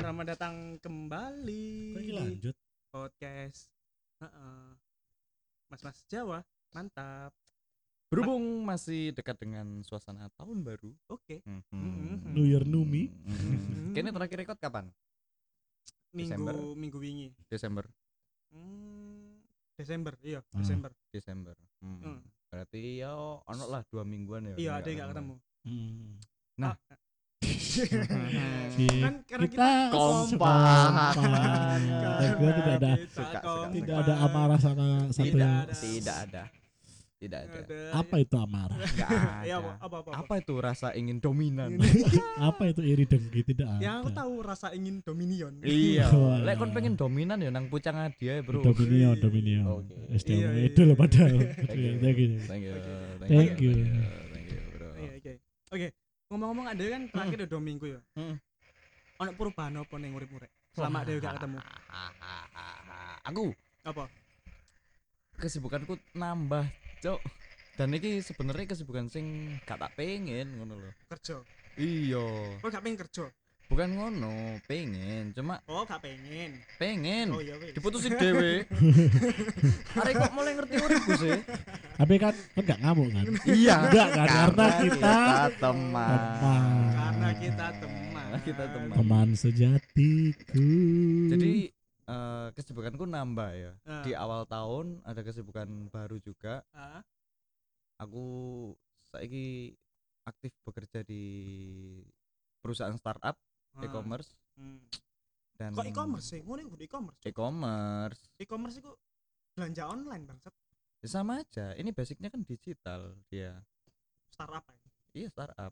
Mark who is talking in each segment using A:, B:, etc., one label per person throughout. A: Selamat datang kembali
B: Kok ini
A: di
B: lanjut?
A: podcast Heeh. Mas-mas Jawa, mantap.
C: Berhubung masih dekat dengan suasana tahun baru.
A: Oke,
C: Mhm.
A: Mhm.
B: New Year, new me.
C: Mhm. Kayaknya terakhir record kapan?
A: minggu
C: Desember.
A: minggu wingi.
C: Desember.
A: Hmm, Desember, iya,
B: Ah.
A: Desember.
C: Desember. Mhm.
A: Hmm.
C: Berarti ya ono lah dua mingguan ya.
A: Iya,
C: nggak
A: ada yang gak ketemu. Ah,
B: Hmm.
C: Mhm.
A: kan karena kita,
C: kompak banget.
A: Karena
B: Kita tidak ada
A: kita
C: Suka, suka,
A: kompak.
C: suka.
B: tidak ada amarah sama satu
A: Tidak
B: yang
A: ada.
C: Tidak ada. Tidak
A: Nggak
C: ada.
A: ada.
B: apa itu amarah?
C: Enggak ada.
A: Ya, apa apa apa.
C: Apa itu rasa ingin dominan?
B: apa itu iri dengki? Tidak ada.
A: Yang Ya, aku tahu rasa ingin dominion.
C: iya.
B: Walah.
C: Lek kon pengen dominan ya nang pucang dia, Bro.
B: Dominio, Dominio.
C: Oke.
B: SDW
A: Iya, iya.
B: itu loh padahal.
C: Thank you.
B: Thank you.
C: Thank you.
B: Thank you.
C: Thank you, bro.
A: Iya, oke. Oke, ngomong-ngomong ada kan terakhir udah dua minggu ya.
C: Heeh.
A: Ono perubahan apa ning uripmu rek? Selama dhewe gak ketemu.
C: Aku
A: Apa?
C: kesibukanku nambah cok dan ini sebenarnya kesibukan sing gak tak pengen ngono lho
A: Kerja.
C: iya
A: Kok Oh, gak pengen kerja?
C: bukan ngono pengen cuma
A: Oh, gak pengen.
C: pengen
A: Oh iya wis.
C: diputusin dewe hari kok mulai ngerti uripku sih
B: Tapi kan kan nggak ngamuk kan?
C: iya
B: Enggak kan? Karena kita
C: teman
B: teman.
A: Karena kita teman.
C: Karena kita teman.
B: teman sejatiku.
C: jadi eh, kesibukanku nambah ya
A: Ah,
C: di awal tahun ada kesibukan baru juga
A: ah,
C: aku saiki aktif bekerja di perusahaan startup
A: ah.
C: e-commerce
A: Hmm.
C: dan
A: Kok e-commerce sih? Ngono iku e-commerce.
C: e-commerce
A: E-commerce iku belanja online bangsat.
C: Ya, sama aja ini basicnya kan digital dia
A: Startup ya.
C: iya startup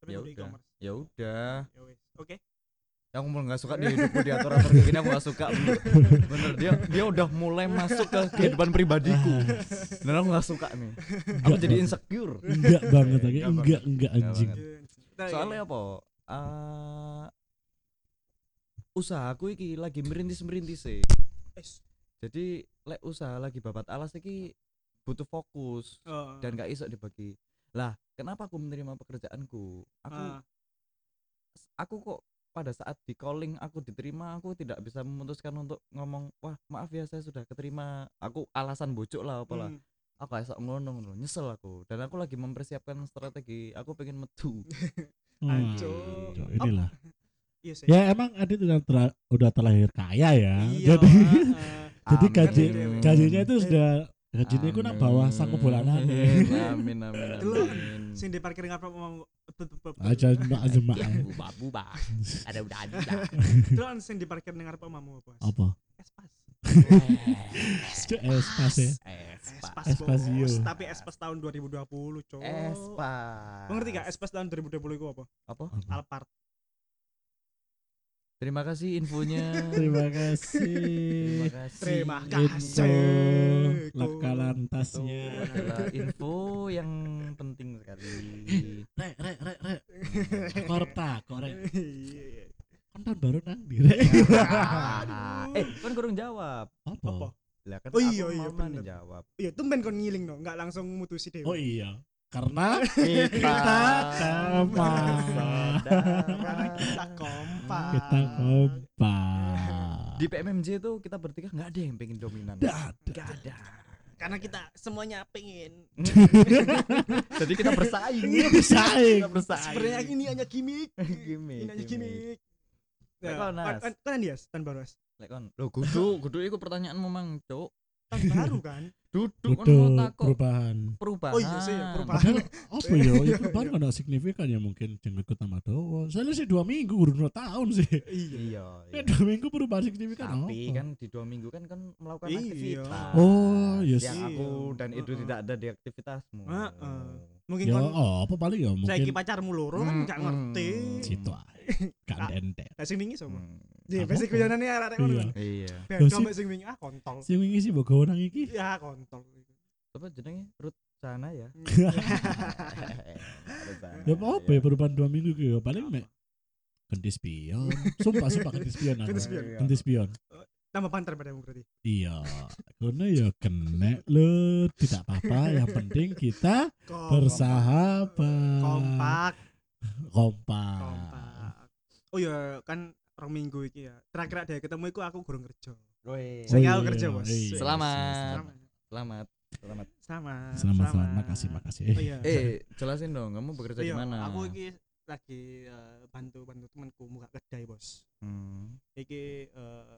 A: Tapi
C: ya
A: kudu
C: udah Kan.
A: e-commerce.
C: ya udah Ya,
A: Ya wis. Oke.
C: aku mulai nggak suka di hidupku diatur atur kayak gini aku nggak suka bener.
B: Ah,
C: bener dia dia udah mulai masuk ke kehidupan pribadiku dan aku nggak suka nih aku jadi insecure
B: enggak banget lagi
C: Enggak
B: enggak enggak
C: Enggak
B: anjing
C: banget.
A: Nah, iya.
C: soalnya apa Eh usaha aku iki lagi merintis merintis sih
A: Eh,
C: jadi lek usaha lagi babat alas iki butuh fokus
A: oh,
C: dan gak iso dibagi lah kenapa aku menerima pekerjaanku aku
A: ah,
C: aku kok pada saat di calling aku diterima aku tidak bisa memutuskan untuk ngomong wah maaf ya saya sudah keterima aku alasan bocok lah apalah
A: hmm.
C: aku gak iso ngono ngono nyesel aku dan aku lagi mempersiapkan strategi aku pengen metu
B: Wah,
A: Ancur.
B: Cok, Ah. inilah
A: Iya sih.
B: ya emang Adit udah, terla- udah terlahir kaya ya
A: Iya,
B: jadi
A: ah,
B: jadi
C: Amin.
B: gaji
A: Amin.
B: gajinya itu sudah gajinya itu nang
C: Amin.
B: bawah sangku bolanan ya.
C: amin amin
A: Dulu,
C: amin
A: ah. sing di parkir ngarep mau
B: aja mak aja mak
C: buba buba ada udah ada
A: Terus sing di parkir ngarep omamu apa? Bos?
B: apa
A: Espas.
B: Cok, es pas ya
C: Eh,
B: iya.
A: Espas.
B: Espasio.
A: bos. Tapi Espas tahun 2020, cowok.
C: Espa.
A: Lo ngerti gak Espas tahun 2020 itu apa?
C: Apa?
A: Alphard.
C: Terima kasih infonya.
B: terima
C: Terima
B: kasih
C: kasih.
A: Terima
B: itu
A: kasih.
B: laka
C: Itu
B: lantasnya
C: adalah info yang penting sekali.
B: re re re re korta korek
A: Iya.
B: konten baru nang direk
A: Aduh.
C: eh, kan kurang jawab.
A: Apa?
B: apa
C: Lah kan
A: Oh
C: aku
A: iya, iya,
C: mama nih
A: bener.
C: jawab.
A: Iya, tumben kon ngiling no, nggak langsung mutusi dewe.
B: oh iya karena
C: Kita
B: kompak.
C: Saudara.
A: Karena kita kompak.
B: kita kompak
C: Di PMMJ itu kita bertiga nggak ada yang pengen dominan.
B: Dah,
C: Nggak ada.
A: Karena kita semuanya pengen.
C: Jadi kita bersaing.
B: Iya, bersaing.
C: Kita bersaing.
A: Sebenarnya ini hanya gimmick.
C: gimmick.
A: ini hanya
C: gimmick.
A: gimmick.
C: Lek
A: Ya,
C: kon, Nas.
A: kon- kon Andias, tahun baru Nas.
C: Lek kon, lo kudu, kudu iku pertanyaanmu mang, Cuk.
A: Tahun baru kan?
C: Duduk kon mau
B: betul
C: takok
B: perubahan
C: perubahan.
A: Oh iya sih, perubahan.
B: padahal apa ya ya perubahan kan nggak signifikan ya mungkin jangan ikut tambah doa soalnya sih dua minggu udah dua tahun sih
A: Iya.
C: Iya.
B: ya
C: iya.
B: dua minggu perubahan signifikan
C: Tapi
B: apa?
C: kan di dua minggu kan kan melakukan
A: Iya.
C: aktivitas.
B: Oh, iya
C: Yang
A: sih.
C: aku dan Edu
A: Heeh.
C: tidak ada di aktivitasmu.
A: Heeh. Mungkin
B: ya
A: kon
B: oh, apa paling ya
A: saiki
B: mungkin
A: pacarmu loro kan
C: Hmm,
A: gak ngerti.
C: hmm.
B: situ aja
A: Ah.
B: gak dendek
A: Lah sing wingi sapa?
C: Hmm.
A: Ya
B: Apa
A: pasti
B: kok?
A: kuyonane arek
B: Iya.
A: ngono.
C: Iya.
A: Ben
B: Lah,
A: sampe sing wingi ah kontol.
B: sing wingi sih mbok gawe nang iki
A: Ya kontol.
C: Apa jenenge? Rut sana ya.
B: ya
C: Iya,
B: apa ya perubahan dua minggu iki ya paling mek ganti spion sumpah sumpah ganti spion aku.
A: Ganti spion.
B: ganti spion
A: Tambah panter padamu berarti.
B: iya karena ya kena lo tidak apa-apa yang penting kita
A: Kompak.
B: bersahabat
A: Kompak,
B: kompak
A: kompak. Oh iya kan rong minggu iki ya. Terakhir dia ketemu iku aku gurung kerja.
C: Woi.
A: Saya nggak kerja, Bos.
B: Oh, Iya,
C: Selamat.
A: Sama.
C: Selamat. Selamat.
A: Sama.
B: Selamat, selamat. Makasih, makasih.
A: Oh iya.
C: Eh, jelasin dong, kamu bekerja di
A: Iya,
C: mana?
A: Aku iki lagi eh, bantu-bantu temanku buka kedai, Bos.
C: Hmm.
A: Iki eh,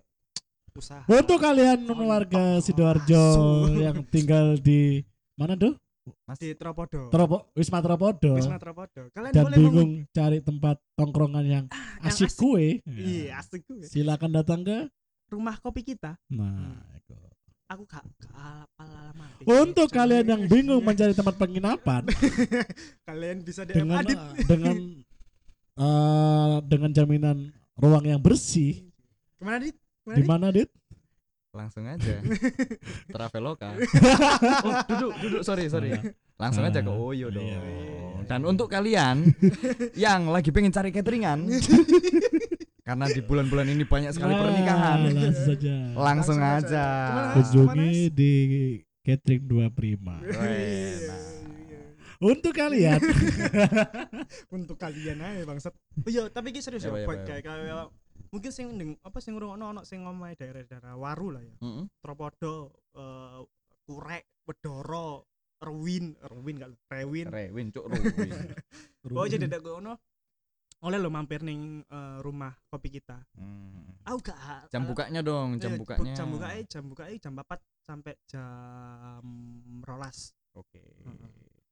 A: usaha.
B: Untuk kalian
A: Oh, iya.
B: warga Sidoarjo
A: Asu.
B: yang tinggal di mana tuh?
A: di Tropodo.
B: Teropo, Wisma Teropodo.
A: Wisma Tropodo. Kalian
B: dan
A: boleh Ah,
B: bingung cari tempat tongkrongan yang
A: yang
B: asik
A: asik.
B: kue.
A: meng- Iya, asik gue.
B: Silakan datang ke
A: Rumah kopi kita.
B: Nah, itu.
A: Aku gak gak hafal alamat.
B: Untuk
A: Iya,
B: kalian yang bingung mencari tempat penginapan
A: kalian bisa DM
B: dengan
A: Adit.
B: dengan eh, dengan jaminan ruang yang bersih,
A: Kemana Adit? Kemana
B: di mana Dit?
C: Langsung aja. Traveloka. Oh, duduk, duduk. Sorry,
B: Nah,
C: sorry. Langsung aja ke Oyo dong.
B: Iya.
C: Dan untuk kalian yang lagi pengen cari cateringan karena di bulan-bulan ini banyak sekali
B: Nah,
C: pernikahan,
B: Langsung saja.
C: langsung
A: Langsung
C: aja.
A: aja. Kemana, Mas?
B: Kunjungi di catering 2 Prima.
C: Weh,
A: Iya,
C: nah.
A: iya.
B: Untuk kalian
A: Untuk kalian aja bangsat. Oh iya, tapi iki serius
C: Ya,
A: ya
C: ya,
A: buat
C: ya.
A: kayak kayak- mungkin sing ndeng- apa sing ngrungokno ono sing ngomahe daerah-daerah Waru lah ya.
C: Mm-mm.
A: Tropodo, eh, Kurek, Bedoro, Rewin, Rewin gak lho, Rewin.
C: Rewin, cuk, Rewin.
A: Oh jadi ada ono oleh lo mampir ning eh, rumah kopi kita.
C: Hmm.
A: Aku gak
C: Jam bukanya dong, jam
A: Eh, bu-
C: bukanya.
A: Jam buka jam buka jam 4 sampai jam rolas.
C: Oke.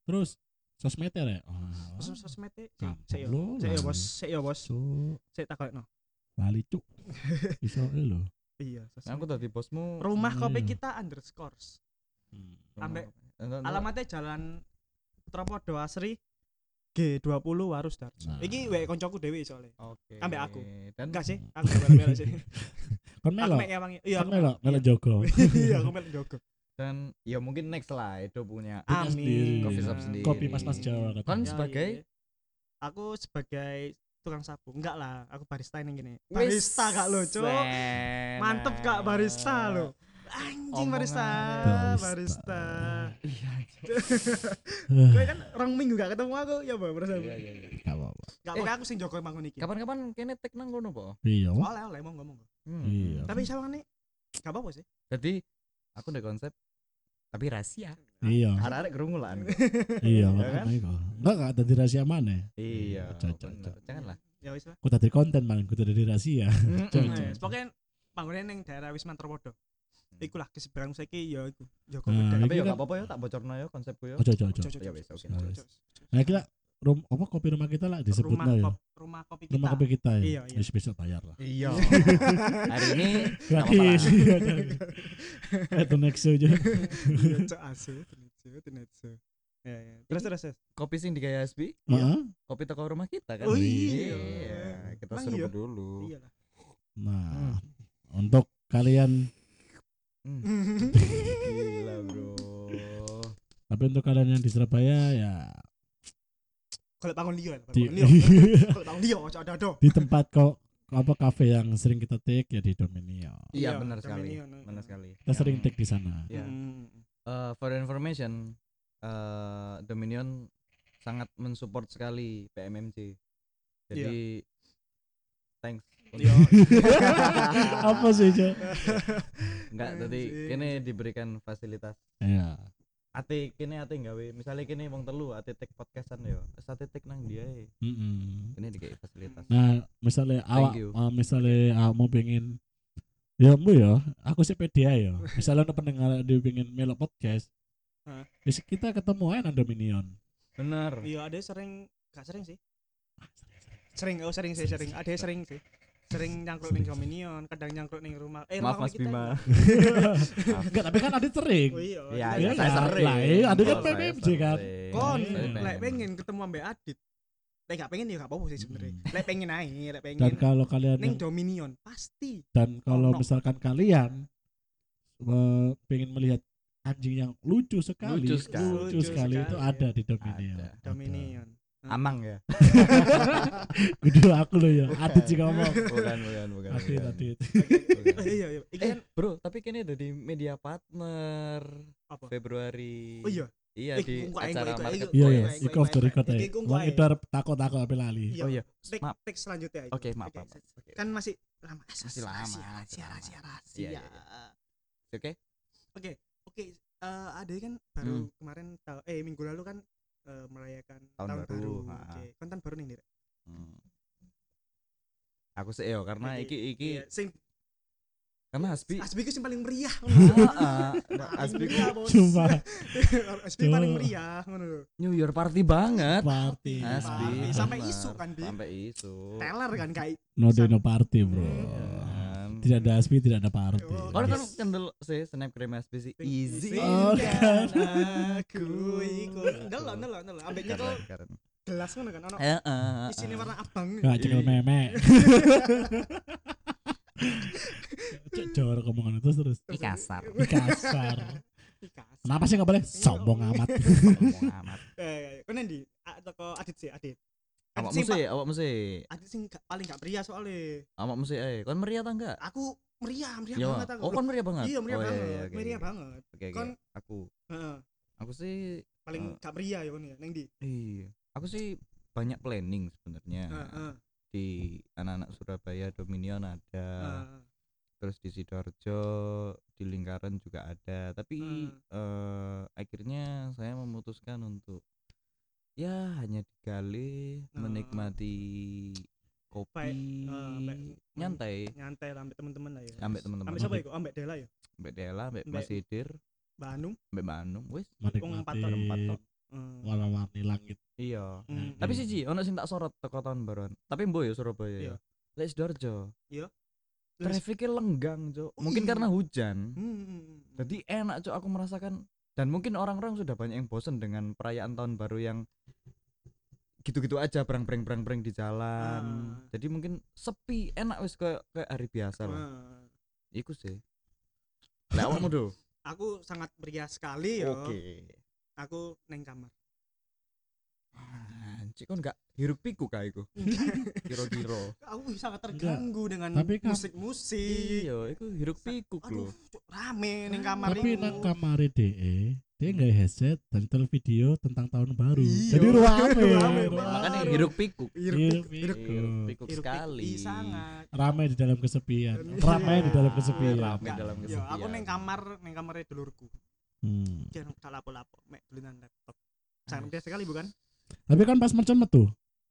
B: terus sosmednya ya. Oh,
A: Terus sosmednya
B: Gampang
A: e, sik yo.
B: lo
A: Sik yo
B: lah.
A: bos, sik yo bos.
B: Cuk,
A: Sik takokno.
B: lali cuk. Bisa lo.
A: Iya,
C: Nah, aku Hmm.
A: sosmed.
C: tadi bosmu.
A: Rumah kopi
B: Iya.
A: kita underscores. Hmm. ambek-
C: alamat
A: Alamatnya Jalan Tropodo Asri G20 Warus Dar.
B: Nah.
A: Iki wae koncoku dhewe soalnya.
C: Oke.
A: ambek aku.
C: Dan
A: Enggak sih, aku melo sih.
B: Kon
A: Aku
B: melo.
A: mek ewangi. Iya, aku
B: Kon melo,
A: melo.
B: melo jogo.
A: Iya, aku melo
C: Kan
A: jogo.
C: dan ya mungkin next lah itu punya.
B: Punya sendiri.
A: Amin.
C: Coffee shop sendiri.
B: Kopi mas-mas Jawa
C: Kan
B: katanya.
A: Yoi.
C: sebagai
A: iya, aku sebagai tukang sapu. Enggak lah, aku barista ini gini. Barista
C: Wis,
A: Kak lo, Cuk.
C: enak.
A: Mantep Kak barista lo. Anjing
C: Omongan.
A: barista,
B: Barista.
A: barista.
C: Iya.
A: Kowe kan rong minggu gak ketemu aku, ya Mbak, barista.
C: iya, iya, iya.
B: Gak apa-apa.
A: Gak apa aku sing jago mangun iki.
C: Kapan-kapan kene tek nang kono, Po.
B: Iya. Mas.
A: Oleh, oleh mau ngomong.
C: Hmm.
B: Iya.
A: Tapi sawangane gak apa-apa sih.
C: Jadi aku udah konsep tapi rahasia.
B: Iya.
C: Arek-arek kerungu lah.
B: Iya,
C: Iya
B: makanya kok. Enggak enggak tadi rahasia mana?
C: Iya.
B: Cocok,
C: bener.
B: cocok.
C: Janganlah.
A: Ya wis lah.
B: Ku tadi konten malah ku tadi rahasia. Cocok.
C: Hmm. iya.
A: Nah, ya, Pokoknya panggonan ning daerah Wisman Tropodo.
C: Hmm.
A: Iku lah keseberang saiki ya iku. Jago
B: Nah,
A: beda.
C: Tapi ya
B: Ini kan-
C: gak apa-apa ya tak bocorno ya konsepku ya.
B: Ojo ojo ojo.
A: Cuk, cuk,
C: Ya
A: cuk,
C: wis,
A: cuk,
C: oke.
A: cuk, cuk, cuk.
B: Nah, kita rum apa kopi rumah kita lah disebut
A: rumah
B: lah ya.
A: kop- rumah kopi
B: Rumah
A: kita.
B: kopi kita
A: Iya,
B: ya.
A: iya.
B: Wis besok bayar lah.
C: Iya. Hari ini
B: Gratis. Iya, gratis. Eh, the next aja.
A: Iya, cok asu, tenetsu, tenetsu. Ya, ya. Terus terus. terus.
C: kopi sing di gaya SB,
B: Heeh.
C: kopi toko rumah kita kan.
A: Oh iya.
C: Kita
A: Emang iya?
C: seru dulu.
A: Iyalah.
B: Nah, untuk kalian
C: Hmm. Iya, Gila, Bro.
B: tapi untuk kalian yang di Surabaya ya
A: Kalau bangun liyo, kalau
B: di
A: bangun liyo. Kalau bangun liyo, cok ada
B: di tempat kok apa kafe yang sering kita take ya di Dominio.
C: Iya,
A: Iya,
C: benar
A: jam
C: sekali.
A: ini, no.
C: Benar sekali.
B: Kita
C: Yang-
B: sering take di
A: Hmm,
B: sana.
C: Iya. Eh, for information, eh, Dominion sangat mensupport sekali PMMC. Jadi thanks.
A: Iya.
B: apa sih, Jo?
C: Enggak tadi
A: Anjing.
C: kini diberikan fasilitas.
B: Iya.
C: Ate kini ate gawe, misalnya kini wong telu ate tek podcastan yo. Terus ate tek nang dia e.
B: Mm-mm.
C: Kini dikei fasilitas.
B: Nah, misalnya awak
C: you.
B: uh, misalnya awak mau pengen ya mbu ya, aku sih pede ya. Misalnya ada pendengar dia pengen melo podcast.
A: Hah?
B: Bisa kita ketemu aja nang Dominion.
C: Bener.
A: Iya, ada sering gak sering sih. Sering, oh sering sih, sering. Ada sering sih. Sering nyangkruk ning
B: Sering,
A: Dominion, kadang nyangkruk ning rumah. Eh,
C: Maaf
A: rumah
C: Mas
A: kopi kita.
C: Bima.
B: Enggak, tapi kan ada sering.
A: Oh iya.
C: Iya,
A: kita-
C: iya,
B: Iya,
C: saya
B: kan?
C: sering.
B: Lah, iya, ada kan
C: Oh, saya
B: PMMJ kan?
C: sering.
A: Kon,
C: Saya
B: Iya.
A: lek pengen ketemu ambek Adit. Lek gak pengen ya gak apa-apa sih sebenarnya.
C: Hmm.
A: Lek pengen ae, lek
B: Dan
A: pengen
B: kalau kalian
A: ning
B: yang-
A: Dominion pasti.
B: dan kalau
A: Ono.
B: misalkan kalian eh, pengen melihat anjing yang lucu sekali,
C: Lucu sekali.
B: lucu sekali
A: Lucu
B: itu
A: sekali.
B: ada di Dominion.
C: Ada.
B: Ada.
A: Dominion.
C: Amang ya.
B: Gede aku loh ya. Adit sih ngomong.
C: bukan bukan bukan.
B: Adit,
C: bukan.
B: adit.
C: Bukan.
A: Oh, iya, iya. Iki
C: Eh
A: kan
C: bro, tapi kini ada di media partner
A: apa?
C: Februari.
A: Oh iya,
C: Iya
A: Eh,
C: di
A: engko aing,
C: acara
A: engko aing,
C: market.
A: engko
B: Iya
A: Koe,
B: iya,
A: koe,
B: iku
A: koe,
B: off the
A: koe.
B: record ae.
A: Iki engko
B: Wong
A: ae.
B: itu arep takut-takut apa lali.
A: Iya.
C: Oh iya.
A: Take,
C: Maaf.
A: take selanjutnya. Iku.
C: Oke, maaf,
A: Oke,
C: maaf, maaf. Oke.
A: Kan masih lama.
C: Masih lama,
A: Rahasia,
C: masih
A: rahasia,
C: lama.
A: rahasia,
C: Iya,
A: rahasia.
C: iya,
A: Kan
C: Oke.
A: Oke, oke. Eh Ade kan baru kemarin ta- eh minggu lalu kan eh, merayakan
C: Hmm. Tahun
A: tahun,
C: baru,
A: baru.
C: ha.
A: Oke, konten baru nih, Dek.
C: Hmm. Aku sih yo karena
A: Oke,
C: iki iki
A: Iya, sing
C: karena Hasbi
A: Asbi ku sing paling meriah.
C: Ah, ah. Nah, Hasbi
A: Asbi
C: ku
B: Cuma
A: Asbi paling
B: Tuh.
A: meriah ngono lho.
C: New Year party banget.
A: Asbi.
B: party.
C: Hasbi
A: Party. Iya, Sampai
C: bener.
A: isu kan, Bi?
C: Sampai isu.
A: Teler kan kai.
B: No day no party, Bro.
C: Iya kan.
B: Tidak ada aspi, tidak ada party.
A: Oh,
C: Orang kan
A: Yes.
C: cendel sih snapgram Hasbi sih easy.
B: Oh, kan.
A: aku ikut. Ndelok ndelok ndelok. Ambek nyekel
C: Keren, keren.
A: gelas ngono kan ono
C: Iya, kan. Eh, eh, eh,
A: isine
C: eh.
A: warna abang.
B: Gak cekel
C: Iya.
B: memek. Cuk, jorok omongan itu terus.
C: Ih, kasar.
B: Ih, Kasar.
A: Ikas.
B: Kenapa sih gak boleh? Sombong amat.
C: Ngomong amat.
A: Eh, kau nanti toko Adit sih Adit.
C: Awak
A: sing
C: musik,
A: pa-
C: awak musik.
A: Adit sing gak- paling gak meriah soalnya.
C: Awak musik eh. Kon meriah ta enggak?
A: Aku meriah, Iya, meriah
C: Yo.
A: banget aku.
C: Oh, kon meriah banget.
A: Iya meriah
C: Oh,
A: banget,
C: iya, oke,
A: meriah
C: oke.
A: banget.
C: Oke, oke.
A: Kon-
C: Aku
A: Heeh.
C: aku sih
A: paling
C: Eh.
A: gak meriah ya nih, neng di.
C: Iya, aku sih banyak planning sebenarnya
A: Heeh.
C: di anak-anak Surabaya Dominion ada,
A: heeh.
C: terus di sidoarjo, di Lingkaran juga ada. Tapi
A: Hmm.
C: eh, akhirnya saya memutuskan untuk ya hanya digali
A: Nah.
C: menikmati kopi,
A: eh, ambek-
C: nyantai,
A: Nyantai lah ambek temen-temen lah ya.
C: ambek teman-teman,
A: Ambek siapa iku? Ambek Dela ya.
C: ambek Dela, ambek
A: Ambek-
C: Mas Idir,
A: Bandung.
C: ambek Manung, wis
A: empat
B: Menikmati
A: ton,
C: empat ton.
A: Heeh.
B: warna-warni langit.
C: Iya.
A: Hmm.
C: Tapi
B: Iya.
C: siji ono sing tak sorot teko tahun baruan. Tapi mbo ya Surabaya ya.
A: Iya.
C: Lek Sidoarjo.
A: Iya. Lek-
C: Trafiknya lenggang, Cok.
A: Oh,
C: Mungkin
A: iya.
C: karena hujan.
A: Hmm.
C: Jadi enak, Cok, aku merasakan dan mungkin orang-orang sudah banyak yang bosen dengan perayaan tahun baru yang gitu-gitu aja berang-berang-berang di jalan.
A: Ah.
C: Jadi mungkin sepi, enak wis kayak kayak hari biasa lah.
A: Heeh.
C: Iku sih. Lek awakmu do.
A: Aku sangat meriah sekali ya. Aku neng kamar.
C: Ah, Cik kon gak hiruk piku kah iku? Kira-kira.
A: Aku sangat terganggu dengan
B: Tapi kan-
A: musik-musik.
C: Iya, iku hiruk pikuk lho.
A: Aduh, cuk, rame
C: Rame.
A: neng kamar
B: Tapi
A: iku.
B: nang kamare DE, dia nggak headset dan nyetel video tentang tahun baru.
A: Iya.
B: Jadi rame.
A: Rame Iya, banget.
C: Makanya
A: Baru.
C: hiruk pikuk. Iya,
A: Hiruk
B: Hiruk
A: pikuk.
B: pikuk.
C: Hiruk pikuk
A: Hiruk pikuk.
C: sekali.
A: Ih, sangat.
B: Rame di dalam kesepian.
A: Iya.
B: Rame di dalam kesepian.
C: Rame
A: Enggak,
C: dalam
A: Ya, aku
C: kesepian.
A: neng kamar, neng kamarnya dulurku.
B: Hmm.
A: Dia nggak lapo-lapo, mek dulunan laptop.
C: Aduh.
A: Sangat meriah sekali bukan?
B: Tapi kan pas mercon metu.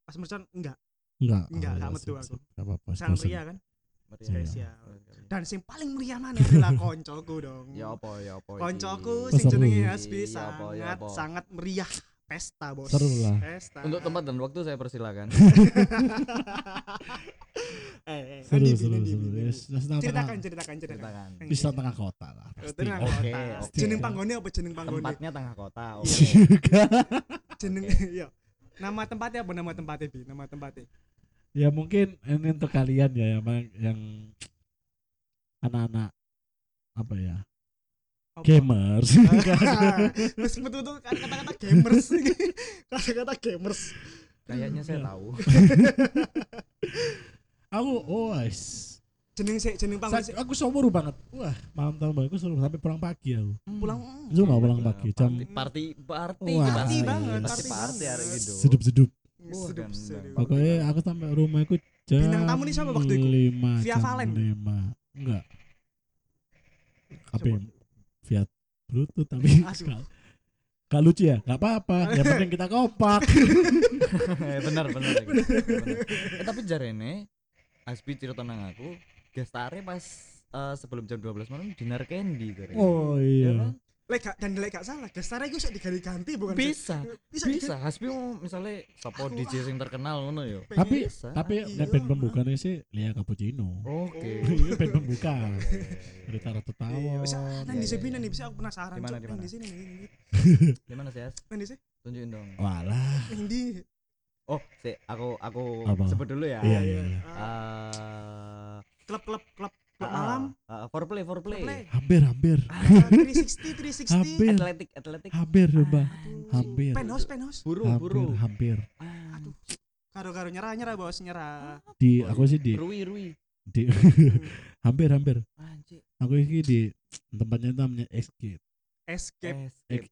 A: Pas mercon enggak,
B: Enggak.
A: Enggak,
B: Oh,
A: enggak
B: iya,
A: metu
B: sip,
A: aku.
B: sip. Enggak apa-apa.
A: sangat
B: bosen.
A: meriah kan?
B: Iya.
C: Meriah.
A: Spesial.
C: Meriah.
A: Dan sing paling meriah mana adalah koncoku dong.
C: Ya apa ya apa. iki?
A: Koncoku
B: Pas
A: sing
B: seru.
A: jenenge Hasbi
C: Iya, apa, iya,
A: sangat
C: apa.
A: sangat meriah pesta bos.
B: Seru lah.
A: Pesta.
C: Untuk tempat dan waktu saya persilakan.
A: eh, eh,
B: Seru,
A: Nandi,
B: seru,
A: Nandi,
B: seru. Ya,
A: Nandi.
B: Yes, yes, tengah-
A: Ceritakan, ceritakan, ceritakan.
C: Ceritakan.
A: Neng,
B: Bisa tengah kota lah.
A: Eh,
B: pasti.
A: Tenang,
C: Oke,
A: oke.
C: oke.
A: Jeneng panggone apa jeneng panggone?
C: Tempatnya tengah kota. Oke.
B: Iya juga.
A: Jeneng iya. Nama tempatnya apa nama tempatnya Bi? Nama tempatnya.
B: ya mungkin ini untuk kalian ya yang yang anak-anak apa ya
A: Apa?
B: gamers
A: Terus betul-betul kata-kata gamers. Kata-kata gamers.
C: Kayaknya
B: Iya.
C: saya tahu.
B: aku oh wais.
A: Jeneng sik, jeneng panggone
B: Sa-
A: sik.
B: aku seumur banget wah malam tahun baru aku seumur sampai pulang pagi aku
A: Pulang.
B: itu nggak pulang pagi jam
C: Party party party
B: Wah.
C: kita
A: Party banget,
C: Party
A: party
C: party
A: banget.
C: hari gitu.
B: sedup sedup
C: Wah,
A: Sedup,
C: dan-
A: sedup.
C: dan-
B: pokoknya aku sampai rumah aku jam
A: Bintang tamu nih siapa waktu itu?
B: lima
A: Via
B: jam
A: Valen?
B: lima enggak tapi
A: Siapa?
B: via bluetooth tapi
A: Aduh.
B: nggak- nggak lucu ya nggak apa-apa yang penting kita kompak
C: Eh, benar benar lagi. Benar. Eh, tapi jarene Asbi cerita nang aku, gestare pas eh, sebelum jam 12 malam dinner candy jarene.
B: oh
C: Ya
B: iya
C: kan?
A: Lek gak- dan lek gak salah, dasarnya gue sok diganti-ganti bukan sih?
C: Bisa,
A: Bisa
C: bisa. Hasbi mau misalnya sapa
A: Aku-
C: DJ sing terkenal ngono ya.
A: diganti.
B: tapi
C: Bisa.
B: tapi
A: Iya, Oh.
B: nek band
A: Mas.
B: pembukanya sih Lia Cappuccino
C: Oke.
B: Ini band pembuka berita ratu
A: Iya,
B: tawon
A: bisa nang di
C: Iya,
A: sini
C: iya.
A: nih bisa aku penasaran.
C: Di mana,
A: Cok.
C: di
A: Nang
C: mana?
A: di sini nang di-
C: Gimana sih, Has?
A: nang di sini.
C: Tunjukin dong.
B: walah
A: Nang di.
C: Oh, si aku aku
B: Apa?
C: sebut dulu ya.
B: Iya, iya, iya.
A: Ah,
C: Eh,
A: Klub-klub klub
C: ah,
A: klub malam.
C: ah, foreplay, foreplay.
A: Play.
B: hampir hampir
A: Ah, 360 360.
B: hampir
C: Atletik, atletik.
B: hampir coba hampir
A: Penhos penhos.
C: Buru,
B: hampir
C: buru.
B: hampir
C: Ah,
A: Aduh. Karo-karo nyerah nyerah bos nyerah.
B: di aku sih di,
C: Rui, rui.
B: di hampir hampir
C: Anjir.
B: aku ini di tempatnya itu namanya X Gate
C: Eh,
A: Escape.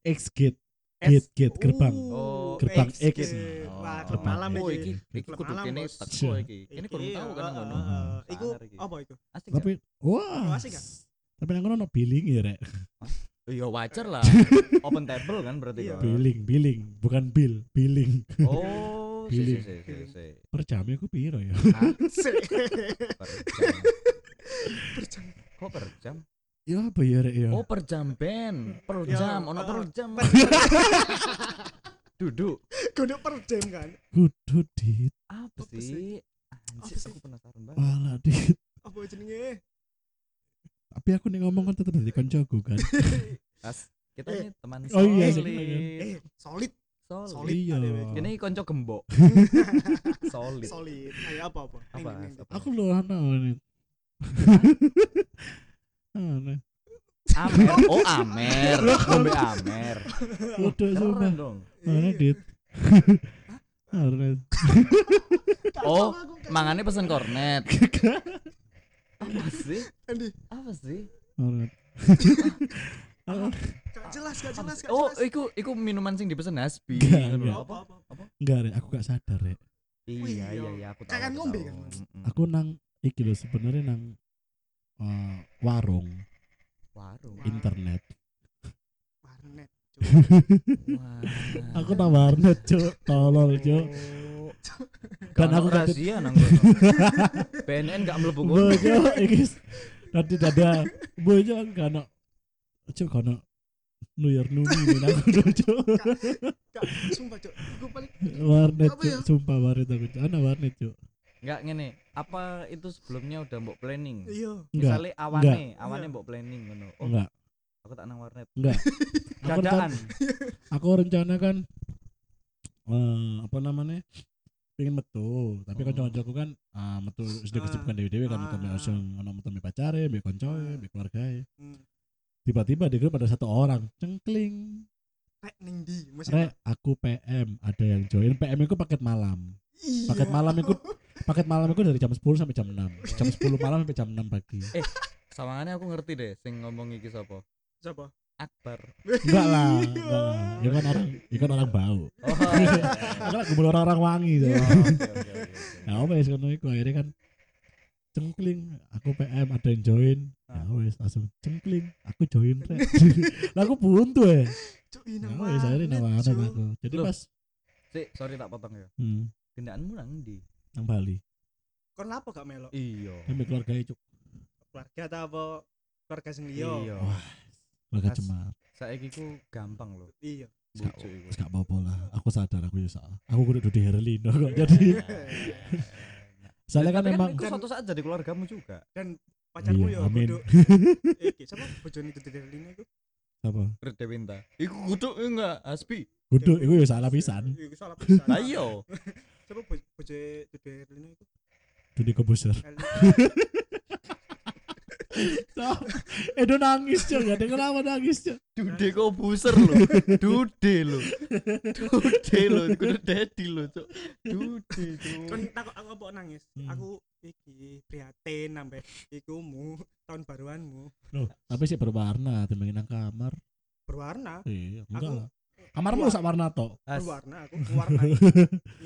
C: Escape.
B: X Gate Gate, gate, gerbang.
A: Uh,
B: Gerbang X.
A: gate. Wah,
B: Gerbang
A: klub malam
B: X.
C: oh,
A: iki.
C: iki iki
A: Klub
C: kudu
A: malam,
C: kene
A: Bos.
C: teko iki. Kene kurang
A: Iya,
C: tahu kan
A: heeh,
C: ngono.
A: heeh. Iku
C: Sangar iki.
A: apa iku?
C: Asik
B: Tapi
A: Oh,
B: wah.
A: asik gak?
B: Tapi nang kono ono billing ya, Rek.
C: gak? ya wajar lah. Open table kan berarti
A: Iya.
C: kan.
B: Billing, billing, bukan bill, billing.
C: Oh, si si
B: Billing.
C: si si. si.
B: Per jamnya aku piro ya?
C: Ah, per jam. Kok per jam?
B: Ya apa ya, Rek ya?
C: Oh, per jam ben. Per
A: Iya,
C: jam, ono per
A: heeh.
C: jam. Duduk.
A: Kudu per jam kan.
B: Kudu dit,
C: Apa
A: Apa sih?
C: sih? Anjir,
A: Apa sih?
C: aku penasaran banget.
B: wala dit.
A: Apa jenenge?
B: Tapi aku nih ngomong kan tetep dari koncoku kan.
C: As, kita ini
A: Eh.
C: teman
B: Oh iya,
C: solid.
A: Eh, solid,
C: Solid.
A: solid.
B: Iya.
A: adewe.
C: Ini konco gembok. solid.
A: gitu. solid. Ayo apa apa? Neng,
C: Apa?
A: neng, neng.
C: Apa?
B: Aku lho ana ini. Ana.
C: Amer. Oh, Amer. Ngombe Amer.
B: Udah sumpah.
C: Keren dong.
A: Iya.
B: Ana dit. Ana.
C: Oh,
A: Kacau aku, kacau.
C: Mangane pesen kornet. Apa sih?
A: Andi,
C: Apa sih?
B: Ana.
A: gak jelas, gak
C: Apa
A: jelas,
C: sih?
A: gak
C: Oh,
A: jelas.
C: iku iku minuman sing dipesen Hasbi. Gitu
B: Enggak,
C: Ngono
B: enggak.
C: lho. Apa?
A: apa apa?
B: Enggak, Rek, aku gak sadar, Rek.
C: Iya,
A: Wih,
C: iya,
A: iya.
C: iya, aku tahu.
A: Kayak kan
C: aku
A: ngombe
C: tahu. mm.
A: kan, Mas?
C: Mm-mm.
B: Aku nang iki lho sebenarnya nang eh, warung
C: warung.
A: Wah.
B: internet.
A: Warnet.
C: Wah.
B: Aku nang warnet, Cuk. Tolol, Cuk.
C: Oh.
B: Dan
C: Kalau
B: aku gak dit-
C: rahasia nang kono. BNN gak mlebu kono.
B: Bojo iki nanti dada bojo gak ono Cuk, gak ono New Year New Me nang kono, Cuk.
A: Gak, sumpah, Cok. Iku paling
B: warnet
A: Apa
B: cuk
A: ya?
B: sumpah warnet aku cuk ana warnet cuk
C: Enggak ngene. Apa itu sebelumnya udah mbok planning?
A: iya.
B: enggak
C: Misalnya awane, awane mbok planning ngono. Oh,
B: enggak
C: aku tak nang warnet.
B: enggak aku
C: Dadaan.
B: rencana, aku rencana kan eh, apa namanya pengen metu tapi
C: Oh.
B: kanca-kancaku kan ah, metu sudah
A: Ah.
B: kesibukan dewe-dewe kan kami
A: Ah.
B: langsung ono metu mbek pacare mbek
A: Ah.
B: koncoe mbek keluargae
A: Hmm.
B: tiba-tiba di grup ada satu orang cengkling
A: Rek ning ndi? Mas
B: rek aku PM ada yang join PM itu paket malam
A: Iya.
B: paket malam itu paket malam itu dari jam 10 sampai jam 6 jam 10 malam sampai jam 6 pagi
C: Sawangane aku ngerti deh sing ngomong iki sapa.
A: Siapa?
C: Akbar.
B: enggak lah
A: Iya.
B: enggak lah ya kan orang ya kan orang bau
C: Oh.
B: Aku lagi gembul orang-orang wangi tuh. Ya wes ngono iku akhirnya kan cengkling aku PM ada yang join. Ya wes langsung cengkling aku join rek. Lah aku buntu ya.
A: Cok, ini
B: Ya
A: nang
B: wes akhirnya
A: warnet,
B: nawaran
A: Cok.
B: aku. Jadi
C: Loh.
B: pas
C: Sik, sorry tak potong ya.
B: hmm,
C: Gendaanmu nang ndi?
B: nang Bali.
A: Kon lapo gak melok?
C: Iya.
B: Sampai keluarga e, cuk.
A: Keluarga ta apa? Keluarga sing liya.
C: Iya.
B: Wah, keluarga
C: As-
B: cemar.
C: Saiki ku gampang loh.
A: Iya.
B: Gak
C: Bucu iku.
B: gak apa-apa lah. Aku sadar aku ya salah. Aku kudu di
A: Iya.
B: Herlino kok. Jadi soalnya kan
C: Tapi
B: memang
C: iku suatu saat jadi keluargamu juga.
A: Dan pacarmu
B: Iya,
A: yo
B: amin.
A: kudu iki Eh, siapa bojone itu dari lini iku?
B: apa?
C: Ruth Dewinta. Iku kudu enggak Aspi.
B: Kudu iku ya salah pisan.
A: Iku salah pisan.
C: Lah iya.
A: Siapa boj- bojone itu dari lini iku?
B: Dunia kebuser. Edo Eh, nangis cuk. Ya dengar apa nangis cuk.
C: Dude kok buser lo. Dude lo. Dude lo, kudu daddy lo, Cuk. Dude, Cuk.
A: Kon takut aku apa nangis?
B: Hmm.
A: Aku iki prihatin sampe ikumu tahun baruanmu
B: Loh, tapi sih berwarna timbangin nang kamar.
A: berwarna
B: Iya, enggak
A: Aku- iya.
B: lah. Kamarmu
A: Wah.
B: sak warna tok.
C: As,
A: berwarna aku warnai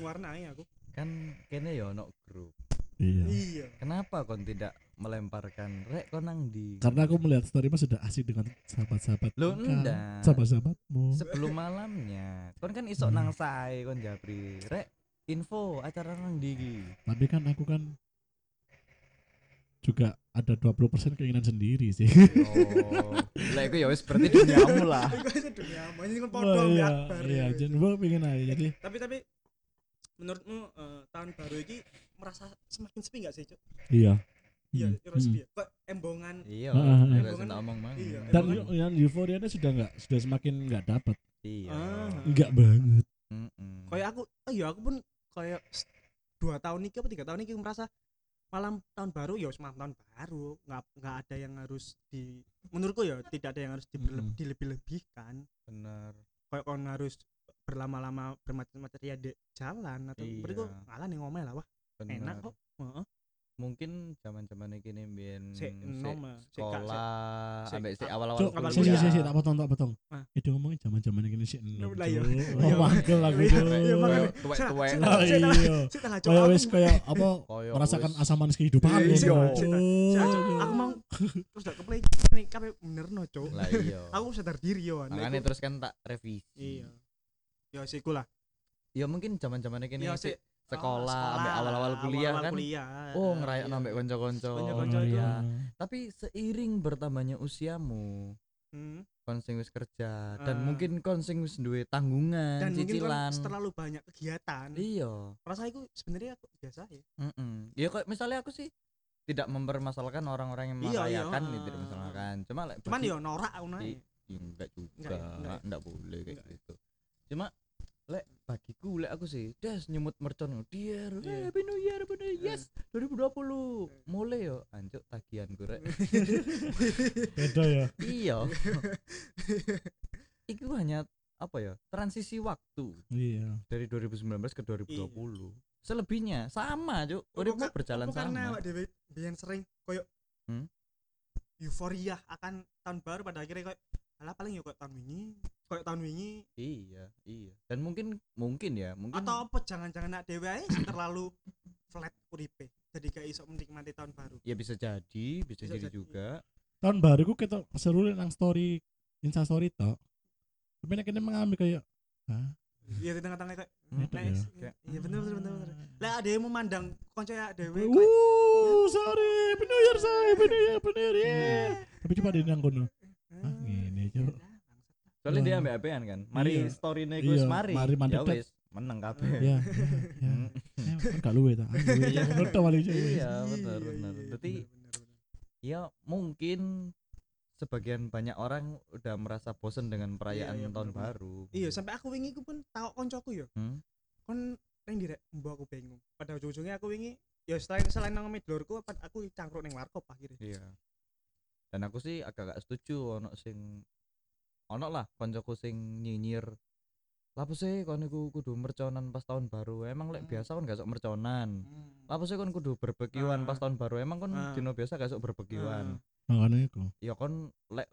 A: warnai aku
C: kan kene ya ono grup.
B: Iya.
A: iya
C: Kenapa kon tidak melemparkan rek kon nang di?
B: Karena aku melihat storymu sudah asik dengan sahabat-sahabat.
C: Loh,
B: kan?
C: enggak.
B: Sahabat-sahabatmu.
C: sebelum malamnya. Kon kan isok nang sae kon Japri. Rek info acara nang di iki.
B: Tapi kan aku kan juga ada 20% keinginan sendiri sih.
C: Oh. Lah iku ya wis berarti duniamu lah.
A: aku aja dunia mau ini kan
B: Wah,
A: podo
B: iya,
A: ya
B: iya, jadi gua pengen aja jadi
A: Eh, tapi tapi menurutmu eh, tahun baru ini merasa semakin sepi nggak sih cok
B: iya.
A: iya
B: Hmm,
A: terus sepi ya. kok embongan
C: Iya.
B: Heeh.
C: Rek sing tak omong mang.
A: Iya.
B: hmm. Dan yang euforianya sudah enggak sudah semakin enggak dapat.
C: Iya.
A: Ah.
B: Enggak banget.
C: Mm-mm.
A: kayak aku oh iya aku pun kayak s- dua tahun ini apa tiga tahun ini merasa malam tahun baru ya wis malam tahun baru nggak nggak ada yang harus di menurutku ya tidak ada yang harus diberle-
B: Mm-mm.
A: dilebih-lebihkan
C: bener.
A: kayak kon harus berlama-lama bermacam-macam ya di jalan atau
C: Iya.
A: berarti kok ngalah nih ngomel lah wah
C: bener.
A: enak kok Heeh.
C: mungkin zaman-zaman iki nih mbiyen
A: Sik enom ah. Sik gak- sik-
C: sekolah
A: sik-
C: ambek sik
A: tak-
C: awal-awal
B: Cuk,
A: Awal
B: sih sih
A: kuliah.
B: sih tak potong tak potong.
A: ya. Ah.
B: Itu ngomongin zaman-zaman ini sih enom.
A: Lah, iya.
B: Cuk.
A: Iya.
B: Oh, wangkel aku.
A: Iya,
B: Cuk.
A: iya, makanya.
C: tuwek-tuwek
A: Sik-
B: Oh,
A: Saya tak-
B: iya.
A: Sik telah
B: Kayak
A: cowok
B: wis kayak apa
C: Kayak
B: merasakan
C: wis.
B: asam manis kehidupan
A: Iya,
B: gitu. Oh.
A: iya.
B: Cuk.
A: Cuk,
B: Cuk.
A: aku mau Iya, terus gak keplay nih kabeh bener no cok
C: lah iya
A: aku sadar diri yo Nek
C: makanya
A: aku-
C: terus kan tak revisi
A: iya yo sik iku lah
C: ya mungkin zaman-zaman iki nih
A: yo Iya,
C: sik
A: sik Ah,
C: sekolah ambek awal-awal kuliah kan oh ngerayak
A: Iya.
C: ambek konco-konco
A: Konco-konco itu.
B: iya.
C: tapi seiring bertambahnya usiamu
A: Hmm.
C: kon sing wis kerja
A: Ah.
C: dan mungkin kon sing wis duwe tanggungan
A: dan mungkin
C: cicilan
A: kan terlalu banyak kegiatan
C: iya
A: rasa aku sebenarnya aku biasa ya
C: Mm-mm. Ya kok misalnya aku sih tidak mempermasalahkan orang-orang yang
A: Iya, iya,
C: merayakan
A: ah.
C: nih, tidak mempermasalahkan. Cuma like,
A: cuman
C: bagi-
A: yo norak aku naik
C: Iya. enggak juga,
A: Enggak,
C: enggak,
A: enggak ya?
C: boleh kayak
A: Enggak.
C: gitu. Cuma lek bagiku lek aku sih das nyemut mercon dear
A: Iya.
C: happy new year happy new year, yes 2020
A: Eh.
C: mulai yo anjuk tagihan gue
B: Beda ya.
C: iya itu hanya apa ya transisi waktu
B: Iya.
C: dari 2019 ke 2020
A: Iya.
C: selebihnya sama cuk
A: Apa
C: uripmu
A: ka-
C: Oh, berjalan
A: apa Oh, karena
C: sama
A: awak dhewe biyen sering koyo
C: Hmm?
A: euforia akan tahun baru pada akhirnya koyo alah paling ya koyo tahun wingi koyo tahun wingi
C: Iya, iya. Dan mungkin mungkin ya, mungkin
A: atau apa jangan-jangan nak dhewe ae sing terlalu flat uripe jadi gak iso menikmati tahun baru
C: ya bisa jadi, bisa,
A: Bisa
C: jadi,
A: jadi.
C: juga.
B: Tahun baru ku ketok seru nang story Insta story tok. Tapi nek kene mengambil kayak Hah?
A: ya di tengah-tengah koyo
C: Hmm.
B: Beda
A: nice.
C: ya.
A: iya bener bener bener bener lah ada yang memandang konco ya dhewe koyo
B: Uh, sorry, happy new year saya, happy new year, happy new year. yeah. Tapi coba ada yang kono. Ah, ngene, Cuk.
C: Soalnya dia
B: Wah.
C: ambil apean kan. Mari
B: Iya.
C: story nih
B: Iya,
C: mari. Iya.
B: mari
C: ya
B: mandek.
C: wis, menang kabeh.
B: Ya, ya.
C: Hmm.
B: ya. Kan gak luwe ta.
C: Iya.
B: Iya, ngono paling cuy.
C: Iya, benar benar. Berarti ya mungkin sebagian banyak orang udah merasa bosen dengan perayaan
A: iya,
C: tahun
A: benar-benar.
C: baru.
A: iya sampai aku wingi ku pun tau koncoku yo
C: Hmm?
A: kon neng Kan direk mbok aku bingung pada ujung-ujungnya aku wingi ya selain selain nang omeh dulurku apa- aku cangkruk neng warkop akhirnya
C: Iya. Dan aku sih agak gak setuju ono sing ono lah koncoku sing nyinyir. Lah sih kon iku kudu merconan pas tahun baru. Emang lek
A: Hmm.
C: biasa kon gak sok merconan. Lah sih kon kudu berbekiwan pas
A: Ah.
C: tahun baru. Emang kon
A: Ah.
C: dino biasa gak sok berbekiwan.
B: Makane iku.
C: Ya kon lek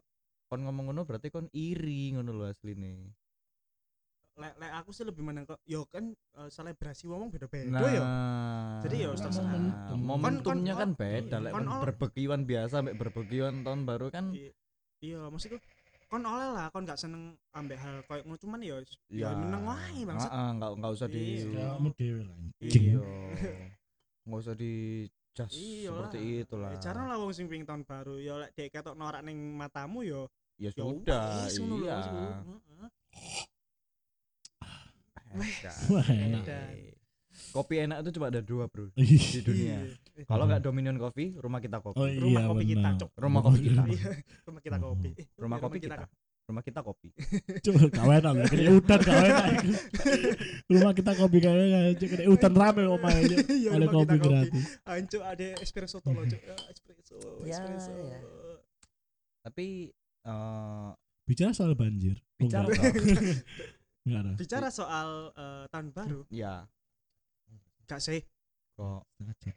C: kon ngomong ngono berarti kon iri ngono lho asline.
A: lek lek aku sih lebih menang kok yo kan eh, selebrasi wong beda-beda
C: Nah,
A: yo Jadi ya
B: wis
C: nah,
B: terserah.
C: momentum. momentumnya
A: Kon- kon-
C: kan beda lek
A: kon
C: kon
A: ol-
C: berbekiwan biasa mek berbekiwan tahun baru kan
A: I- iya maksudku kon oleh lah kon gak seneng ambek hal koyo ngono cuman yo ya
C: ya
A: meneng wae bangsa
C: Heeh, enggak enggak usah di
A: Iya.
B: Kamu dhewe lah.
C: Iya.
B: anjing.
C: Enggak usah di jas ah, seperti itulah.
A: ya, jarang Iya lah wong sing ping tahun baru yo lek dek ketok norak ning matamu yo
C: Ya
A: yo
C: sudah,
A: wis ngono lho,
C: iya.
A: wis ngono. Heeh.
B: Wah,
C: Oke.
B: enak.
C: Kopi enak itu cuma ada dua, Bro. Di
B: Ih.
C: dunia.
A: Iya.
C: Kalau nggak Dominion Coffee, rumah kita kopi.
B: Mm-hmm. Oh iya.
A: rumah kopi kita
B: benar.
A: cok
C: Rumah kopi kita.
A: Iya, rumah kita kopi Eh,
C: Iya, Rumah kopi kita.
A: kopi.
C: Rumah kita kopi.
B: Cuk, gak enak lho. Kene udan gak enak. iku. Rumah kita kopi kayaknya cuk kene utan rame omahe. Cuk.
A: Iya,
B: Oleh
A: rumah
B: kopi
A: kita kopi
B: gratis.
A: Anco ada espresso tolo cok Ya, espresso
C: Ya,
A: espresso
C: ya. Tapi eh
B: Bicara soal banjir. Oh,
C: bicara
B: enggak.
C: soal-
B: Enggak ada.
A: bicara soal eh, tahun baru
C: ya
A: gak sih
C: kok
B: Setengah jam.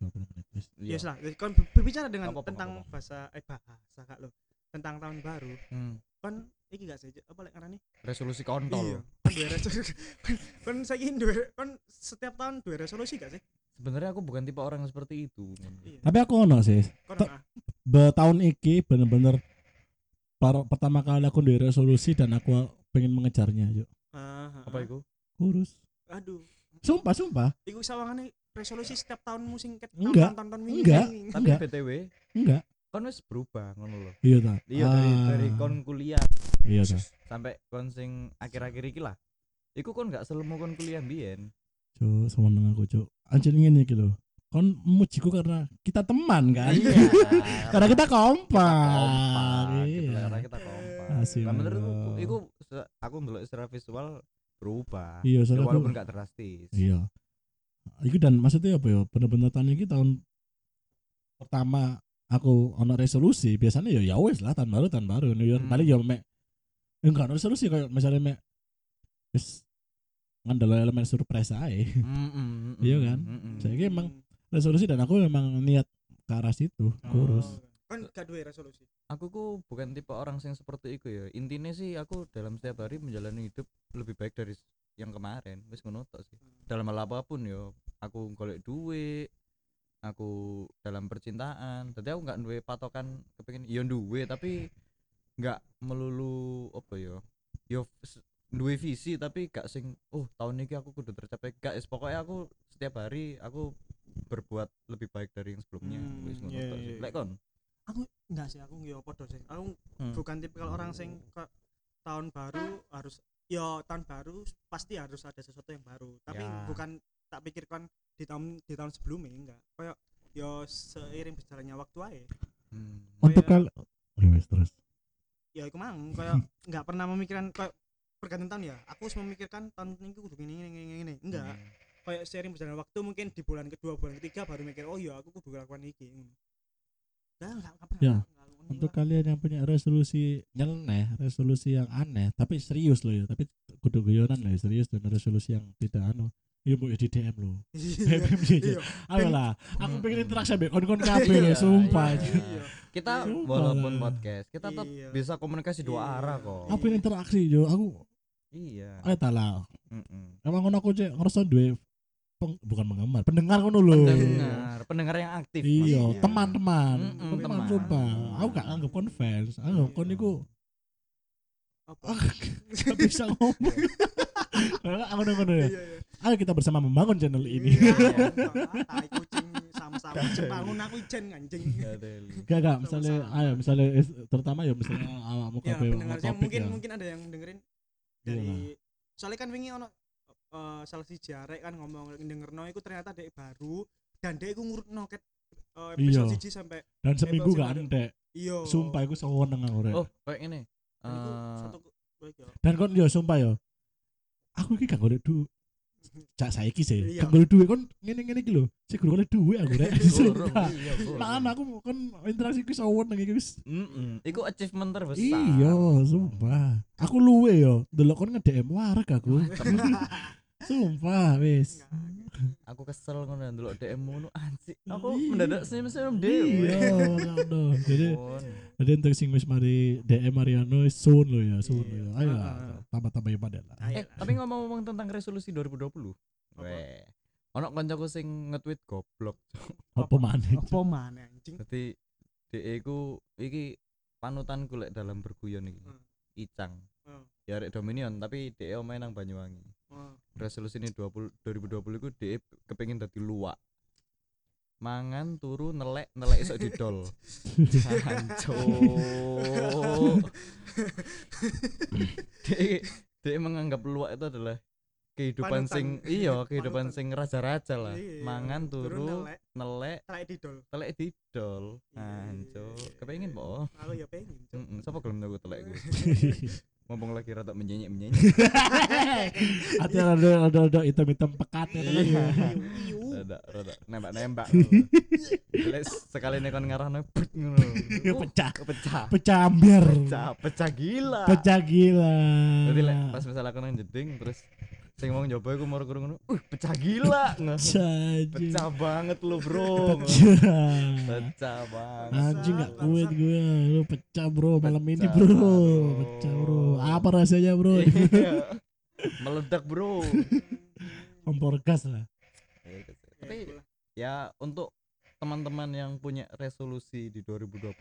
B: 20 menit wis.
C: ya.
A: ya yes lah kon ber- berbicara dengan
C: Gak apa-apa,
A: tentang
C: gak apa-apa.
A: bahasa eh bahasa kak lo tentang tahun baru
C: Hmm,
A: kon iki gak sih Cuk? apa lek ngarani
C: resolusi
A: iya
C: kontol.
A: kon dua resolusi kon saiki dua kon setiap tahun dua resolusi gak sih
C: Sebenarnya aku bukan tipe orang yang seperti itu.
A: iya
B: Tapi aku ono sih.
A: kon
B: Tok.
A: ah,
B: Be- tahun iki bener-bener par- pertama kali aku duwe resolusi dan aku pengen mengejarnya yuk
A: ah, ah,
C: Apa
A: ah.
C: itu?
B: kurus
A: aduh
B: sumpah sumpah
A: iku sawangane resolusi setiap tahunmu sing ket
B: Enggak.
A: tahun tahun
B: Enggak.
C: Tapi
B: Enggak.
C: BTW,
B: enggak
C: kon wis berubah ngono lho.
B: iya ta
C: Iya dari
B: Ah,
C: dari kon kuliah
B: iya ta
C: sampai kon sing akhir-akhir iki lah iku kon gak selemu kon kuliah mbiyen
B: cuk seneng aku cuk anjir ngene iki lho kon mujiku karena kita teman kan karena kita kompak
C: Iya. kompak gitu,
B: iya
C: karena kita kompak
B: Asih,
C: nah menurutku
B: Allah.
C: iku se- aku ndelok secara visual berubah
B: iya
C: Ya,
B: soalnya aku
C: walaupun gak drastis
B: iya itu dan maksudnya apa ya bener-bener tahun iki tahun pertama aku ono resolusi biasanya ya ya wes lah tahun baru tahun baru New Year
C: Hmm.
B: paling ya mek eh, enggak ono resolusi kayak misalnya mek wis ngandel elemen surprise ae
C: Mm, mm, mm,
B: Iya kan?
C: mm, mm.
A: Hmm.
B: Saya- Saiki emang- resolusi dan aku memang niat ke arah situ kurus
A: kan gak duwe resolusi
C: aku ku bukan tipe orang yang seperti itu ya intinya sih aku dalam setiap hari menjalani hidup lebih baik dari s- yang kemarin wis ngono tok sih
A: Hmm.
C: dalam hal apapun yo aku golek duit aku dalam percintaan tadi aku nggak duwe patokan kepengin yo duwe tapi nggak melulu apa yo yo s- duwe visi tapi gak sing oh tahun ini aku kudu tercapai gak is pokoknya aku setiap hari aku berbuat lebih baik dari yang sebelumnya
A: Hmm,
C: wis ngono
A: iya,
C: tok
A: iya,
C: sih
A: iya.
C: lek kon
A: enggak sih aku yo podo sih aku
C: Hmm.
A: bukan tipikal orang sing ke tahun baru harus yo tahun baru pasti harus ada sesuatu yang baru tapi
C: Ya.
A: bukan tak pikirkan di tahun di tahun sebelumnya enggak kayak yo seiring berjalannya waktu aja
C: Hmm.
B: untuk
A: Kayak-
B: kali ya wes terus
A: ya aku mang kayak nggak pernah memikirkan kayak pergantian tahun ya aku harus memikirkan tahun ini kudu gini gini gini gini enggak
C: Hmm.
A: kayak sering berjalan waktu mungkin di bulan kedua bulan ketiga baru mikir oh iya aku kudu lakukan iki enggak enggak enggak pernah
B: Ya,
A: Enggak, enggak,
B: untuk
A: enggak.
B: kalian yang punya resolusi nyeleneh resolusi yang aneh tapi serius loh ya tapi kudu guyonan loh ya, serius dan resolusi yang tidak anu Iya bu ya di DM lo, BBM aja.
A: Iya.
B: Ayo lah, aku
C: Hmm.
B: pengen interaksi ambil kon-kon kabeh
C: Iya,
B: loh, sumpah.
C: iya.
A: Iya.
C: kita
B: Sumpah
C: walaupun
B: lah.
C: podcast kita tetap
A: Iya.
C: bisa komunikasi dua
A: Iya.
C: arah kok
B: Aku pengen interaksi yo, aku
C: iya
B: ayo tak lah.
C: Mm-mm.
B: Emang ngono aku cek ngerasa duwe peng- bukan penggemar, pendengar ngono lho.
C: pendengar pendengar yang aktif
B: Iya,
C: maksudnya.
B: teman-teman,
C: Mm-mm,
B: teman
C: teman.
B: coba. Aku gak anggap conference, aku
A: Iya.
B: kon niku
A: Apa?
B: gak bisa ngomong. Nah, Ngono-ngono ya.
A: Iya, iya.
B: Ayo kita bersama membangun channel ini.
A: Iya, iya. Tai kucing sama-sama Jepang aku ijen anjing.
B: Iya,
C: Ya, Deli.
B: Gak gak, misalnya
A: Sama-sama.
B: ayo misalnya eh, terutama ya misalnya awakmu
A: Ya,
B: kabeh
A: pendengarnya
B: topik
A: mungkin
B: ya. Iya
A: mungkin ada yang dengerin
B: Iyalah.
A: dari soalnya kan wingi ono eh, salah si jarek kan ngomong dengerno iku ternyata dek baru dan dek iku ngurutno ket eh, episode
B: Iya.
A: siji sampai
B: Dan seminggu
A: Episode
B: gak
A: baru.
B: entek.
A: iya
B: Sumpah iku seweneng aku rek.
C: oh kayak ini
A: Dan iku
C: Eh,
A: satu baik ya.
B: Dan kon yo sumpah yo. Aku iki gak golek duit. Cak saiki sih.
A: Iya.
B: Gak golek duit kon ngene-ngene iki lho. Sik guru golek duit aku rek.
C: gorong,
B: Sumpah.
C: iya, gorong.
B: Nah, aku kon interaksi ku sawen nang iki wis.
C: Mm-mm. Iku achievement terbesar
B: Iya, sumpah. Aku luwe yo. Delok kon nge-DM wareg aku. sumpah wis.
C: aku kesel ngono dulu DM ngono anjir aku
B: Iya.
C: mendadak senyum-senyum dhewe
B: Iya, ngono. Jadi
C: Mon.
A: Oh.
B: jadi untuk sing wis mari DM Mariano wis soon lho ya, soon lho ya. Ayo
A: Iya. Ah,
B: lah, tambah-tambah ibadah lah.
A: Ayo
C: eh
A: lah.
C: tapi ngomong-ngomong tentang resolusi 2020
A: Apa?
C: weh ono koncoku sing nge-tweet goblok
B: Apa maneh?
A: apa mana anjing
C: Berarti DE ku iki panutan lek dalam berguyon iki.
A: Hmm.
C: Icang.
A: Hmm.
C: Ya arek Dominion tapi DE omahe nang Banyuwangi.
A: Oh,
C: Resolusi ini 20 2020 iku DE kepengin dadi luwak. Mangan turu nelek nelek esok didol. Hancur. DE DE menganggap luwak itu adalah kehidupan
A: Panutan.
C: sing iya kehidupan
A: Panutan.
C: sing raja-raja lah.
A: Iya.
C: Mangan
A: turun
C: turu
A: nelek
C: nelek
A: telek didol
C: telek didol
A: Iya,
C: anco
A: iya, iya.
C: kepengin po
A: aku ya pengen Cuk.
C: Heeh, sapa gelem aku telek gue ngomong lagi rada menyenyek menyenyek
B: Ada ada ada ada item-item pekatnya kan ya.
A: Iu, iu.
C: rada rada nembak nembak telek sekali nih kon ngarahno but ngono
B: Ya,
C: Uh,
B: pecah.
C: pecah
B: Pecah ambiar.
C: pecah pecah gila
B: Pecah gila.
C: jadi lek pas misalnya aku nang jeding terus sing wong nyoba iku moro kurung ngono uh pecah gila Ngono.
B: Pecah. Iya.
C: pecah banget lu bro Ngono. pecah banget Iya.
B: Anjing gak
A: Bangsat,
B: kuat gue, lu pecah bro malam ini
C: Pecah,
B: bro,
C: bro.
B: pecah bro. Apa rasanya bro?
C: Iya. meledak bro
B: Kompor gas lah.
C: Iya, gitu.
A: Ya,
C: tapi
A: itulah.
C: ya untuk teman-teman yang punya resolusi di 2020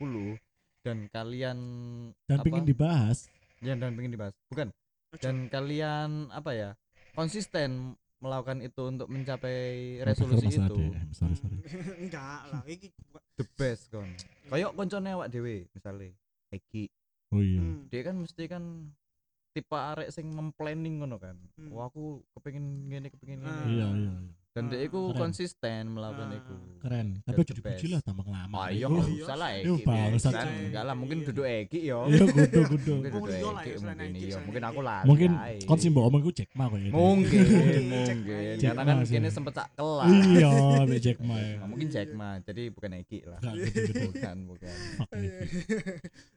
C: dan kalian
B: Dan
C: apa
B: pingin kan dibahas.
C: ya, dan pengen dibahas bukan dan kalian apa ya konsisten melakukan itu untuk mencapai Eh, resolusi
B: Mas
C: itu
B: Ade. Eh, Sorry sorry.
A: enggak lah iki bukan-
C: the best kon kayak koncone awak dhewe misale Eki
B: Oh iya.
A: Hmm.
C: dia kan mesti kan tipe arek sing memplanning ngono kan
A: Hmm.
C: wah aku kepengin ngene kepengin
A: Ah.
C: ngene
B: Iya iya. iya.
C: dan dia iku
B: Keren.
C: konsisten melakukan
A: Ah.
C: itu
B: Keren. Tapi
C: The
B: aja dipuji
C: best.
B: lah tambah lama.
C: Ah iya
A: Oh,
C: nggak
A: iya.
C: usah lah
B: Iya,
C: Eki.
B: bangsat.
C: Kan,
A: Iya.
C: Enggak lah mungkin
A: Iya.
C: duduk Eki yo.
B: Iya kudu kudu.
C: Mungkin
A: Wong
C: duduk
A: liya lah
C: Eki
A: ya, selain
C: mungkin
A: Eki,
C: iya.
A: selain
C: Mungkin
A: Eki.
C: aku lari.
B: Mungkin
C: ae.
B: kon sih mbok omongku cek mah kok ya.
C: Mungkin,
A: Mungkin,
C: mungkin.
A: Jack
C: Karena
B: Ma
C: kan
B: sih.
C: kene sempet tak kelas.
B: ya. Iya, mbek cek mah. ya.
C: Nah, mungkin Jack Ma, jadi bukan Eki lah.
B: Gak gitu.
C: Bukan, bukan.
B: Fuck, Eki.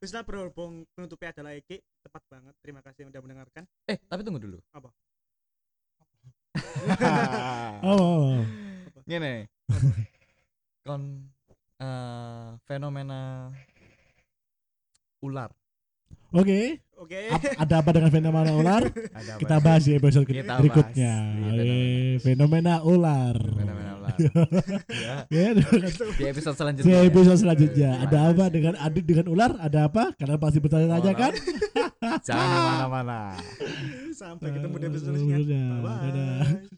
A: Terus lah berhubung penutupnya adalah Eki tepat banget. Terima kasih yang udah mendengarkan.
C: Eh, tapi tunggu dulu.
A: Apa?
B: Oh, oh, oh.
C: Ngene. kon eh, fenomena ular
B: Oke,
A: Oke.
B: ap- ada apa dengan fenomena ular?
C: ada
B: Kita bahas di episode ke-
C: Kita bahas.
B: berikutnya.
C: Iya,
B: Oke, fenomena ular.
C: fenomena ular ya
B: Ya,
C: di episode
B: di
C: selanjutnya ya.
B: episode selanjutnya
C: Iya.
B: ada apa dengan adit dengan ular? Ada apa? Kalian pasti bertanya-tanya
C: Orang.
B: kan?
C: jangan kemana-mana
A: Sampai ketemu di episode selanjutnya.
B: Dadah.
A: Bye.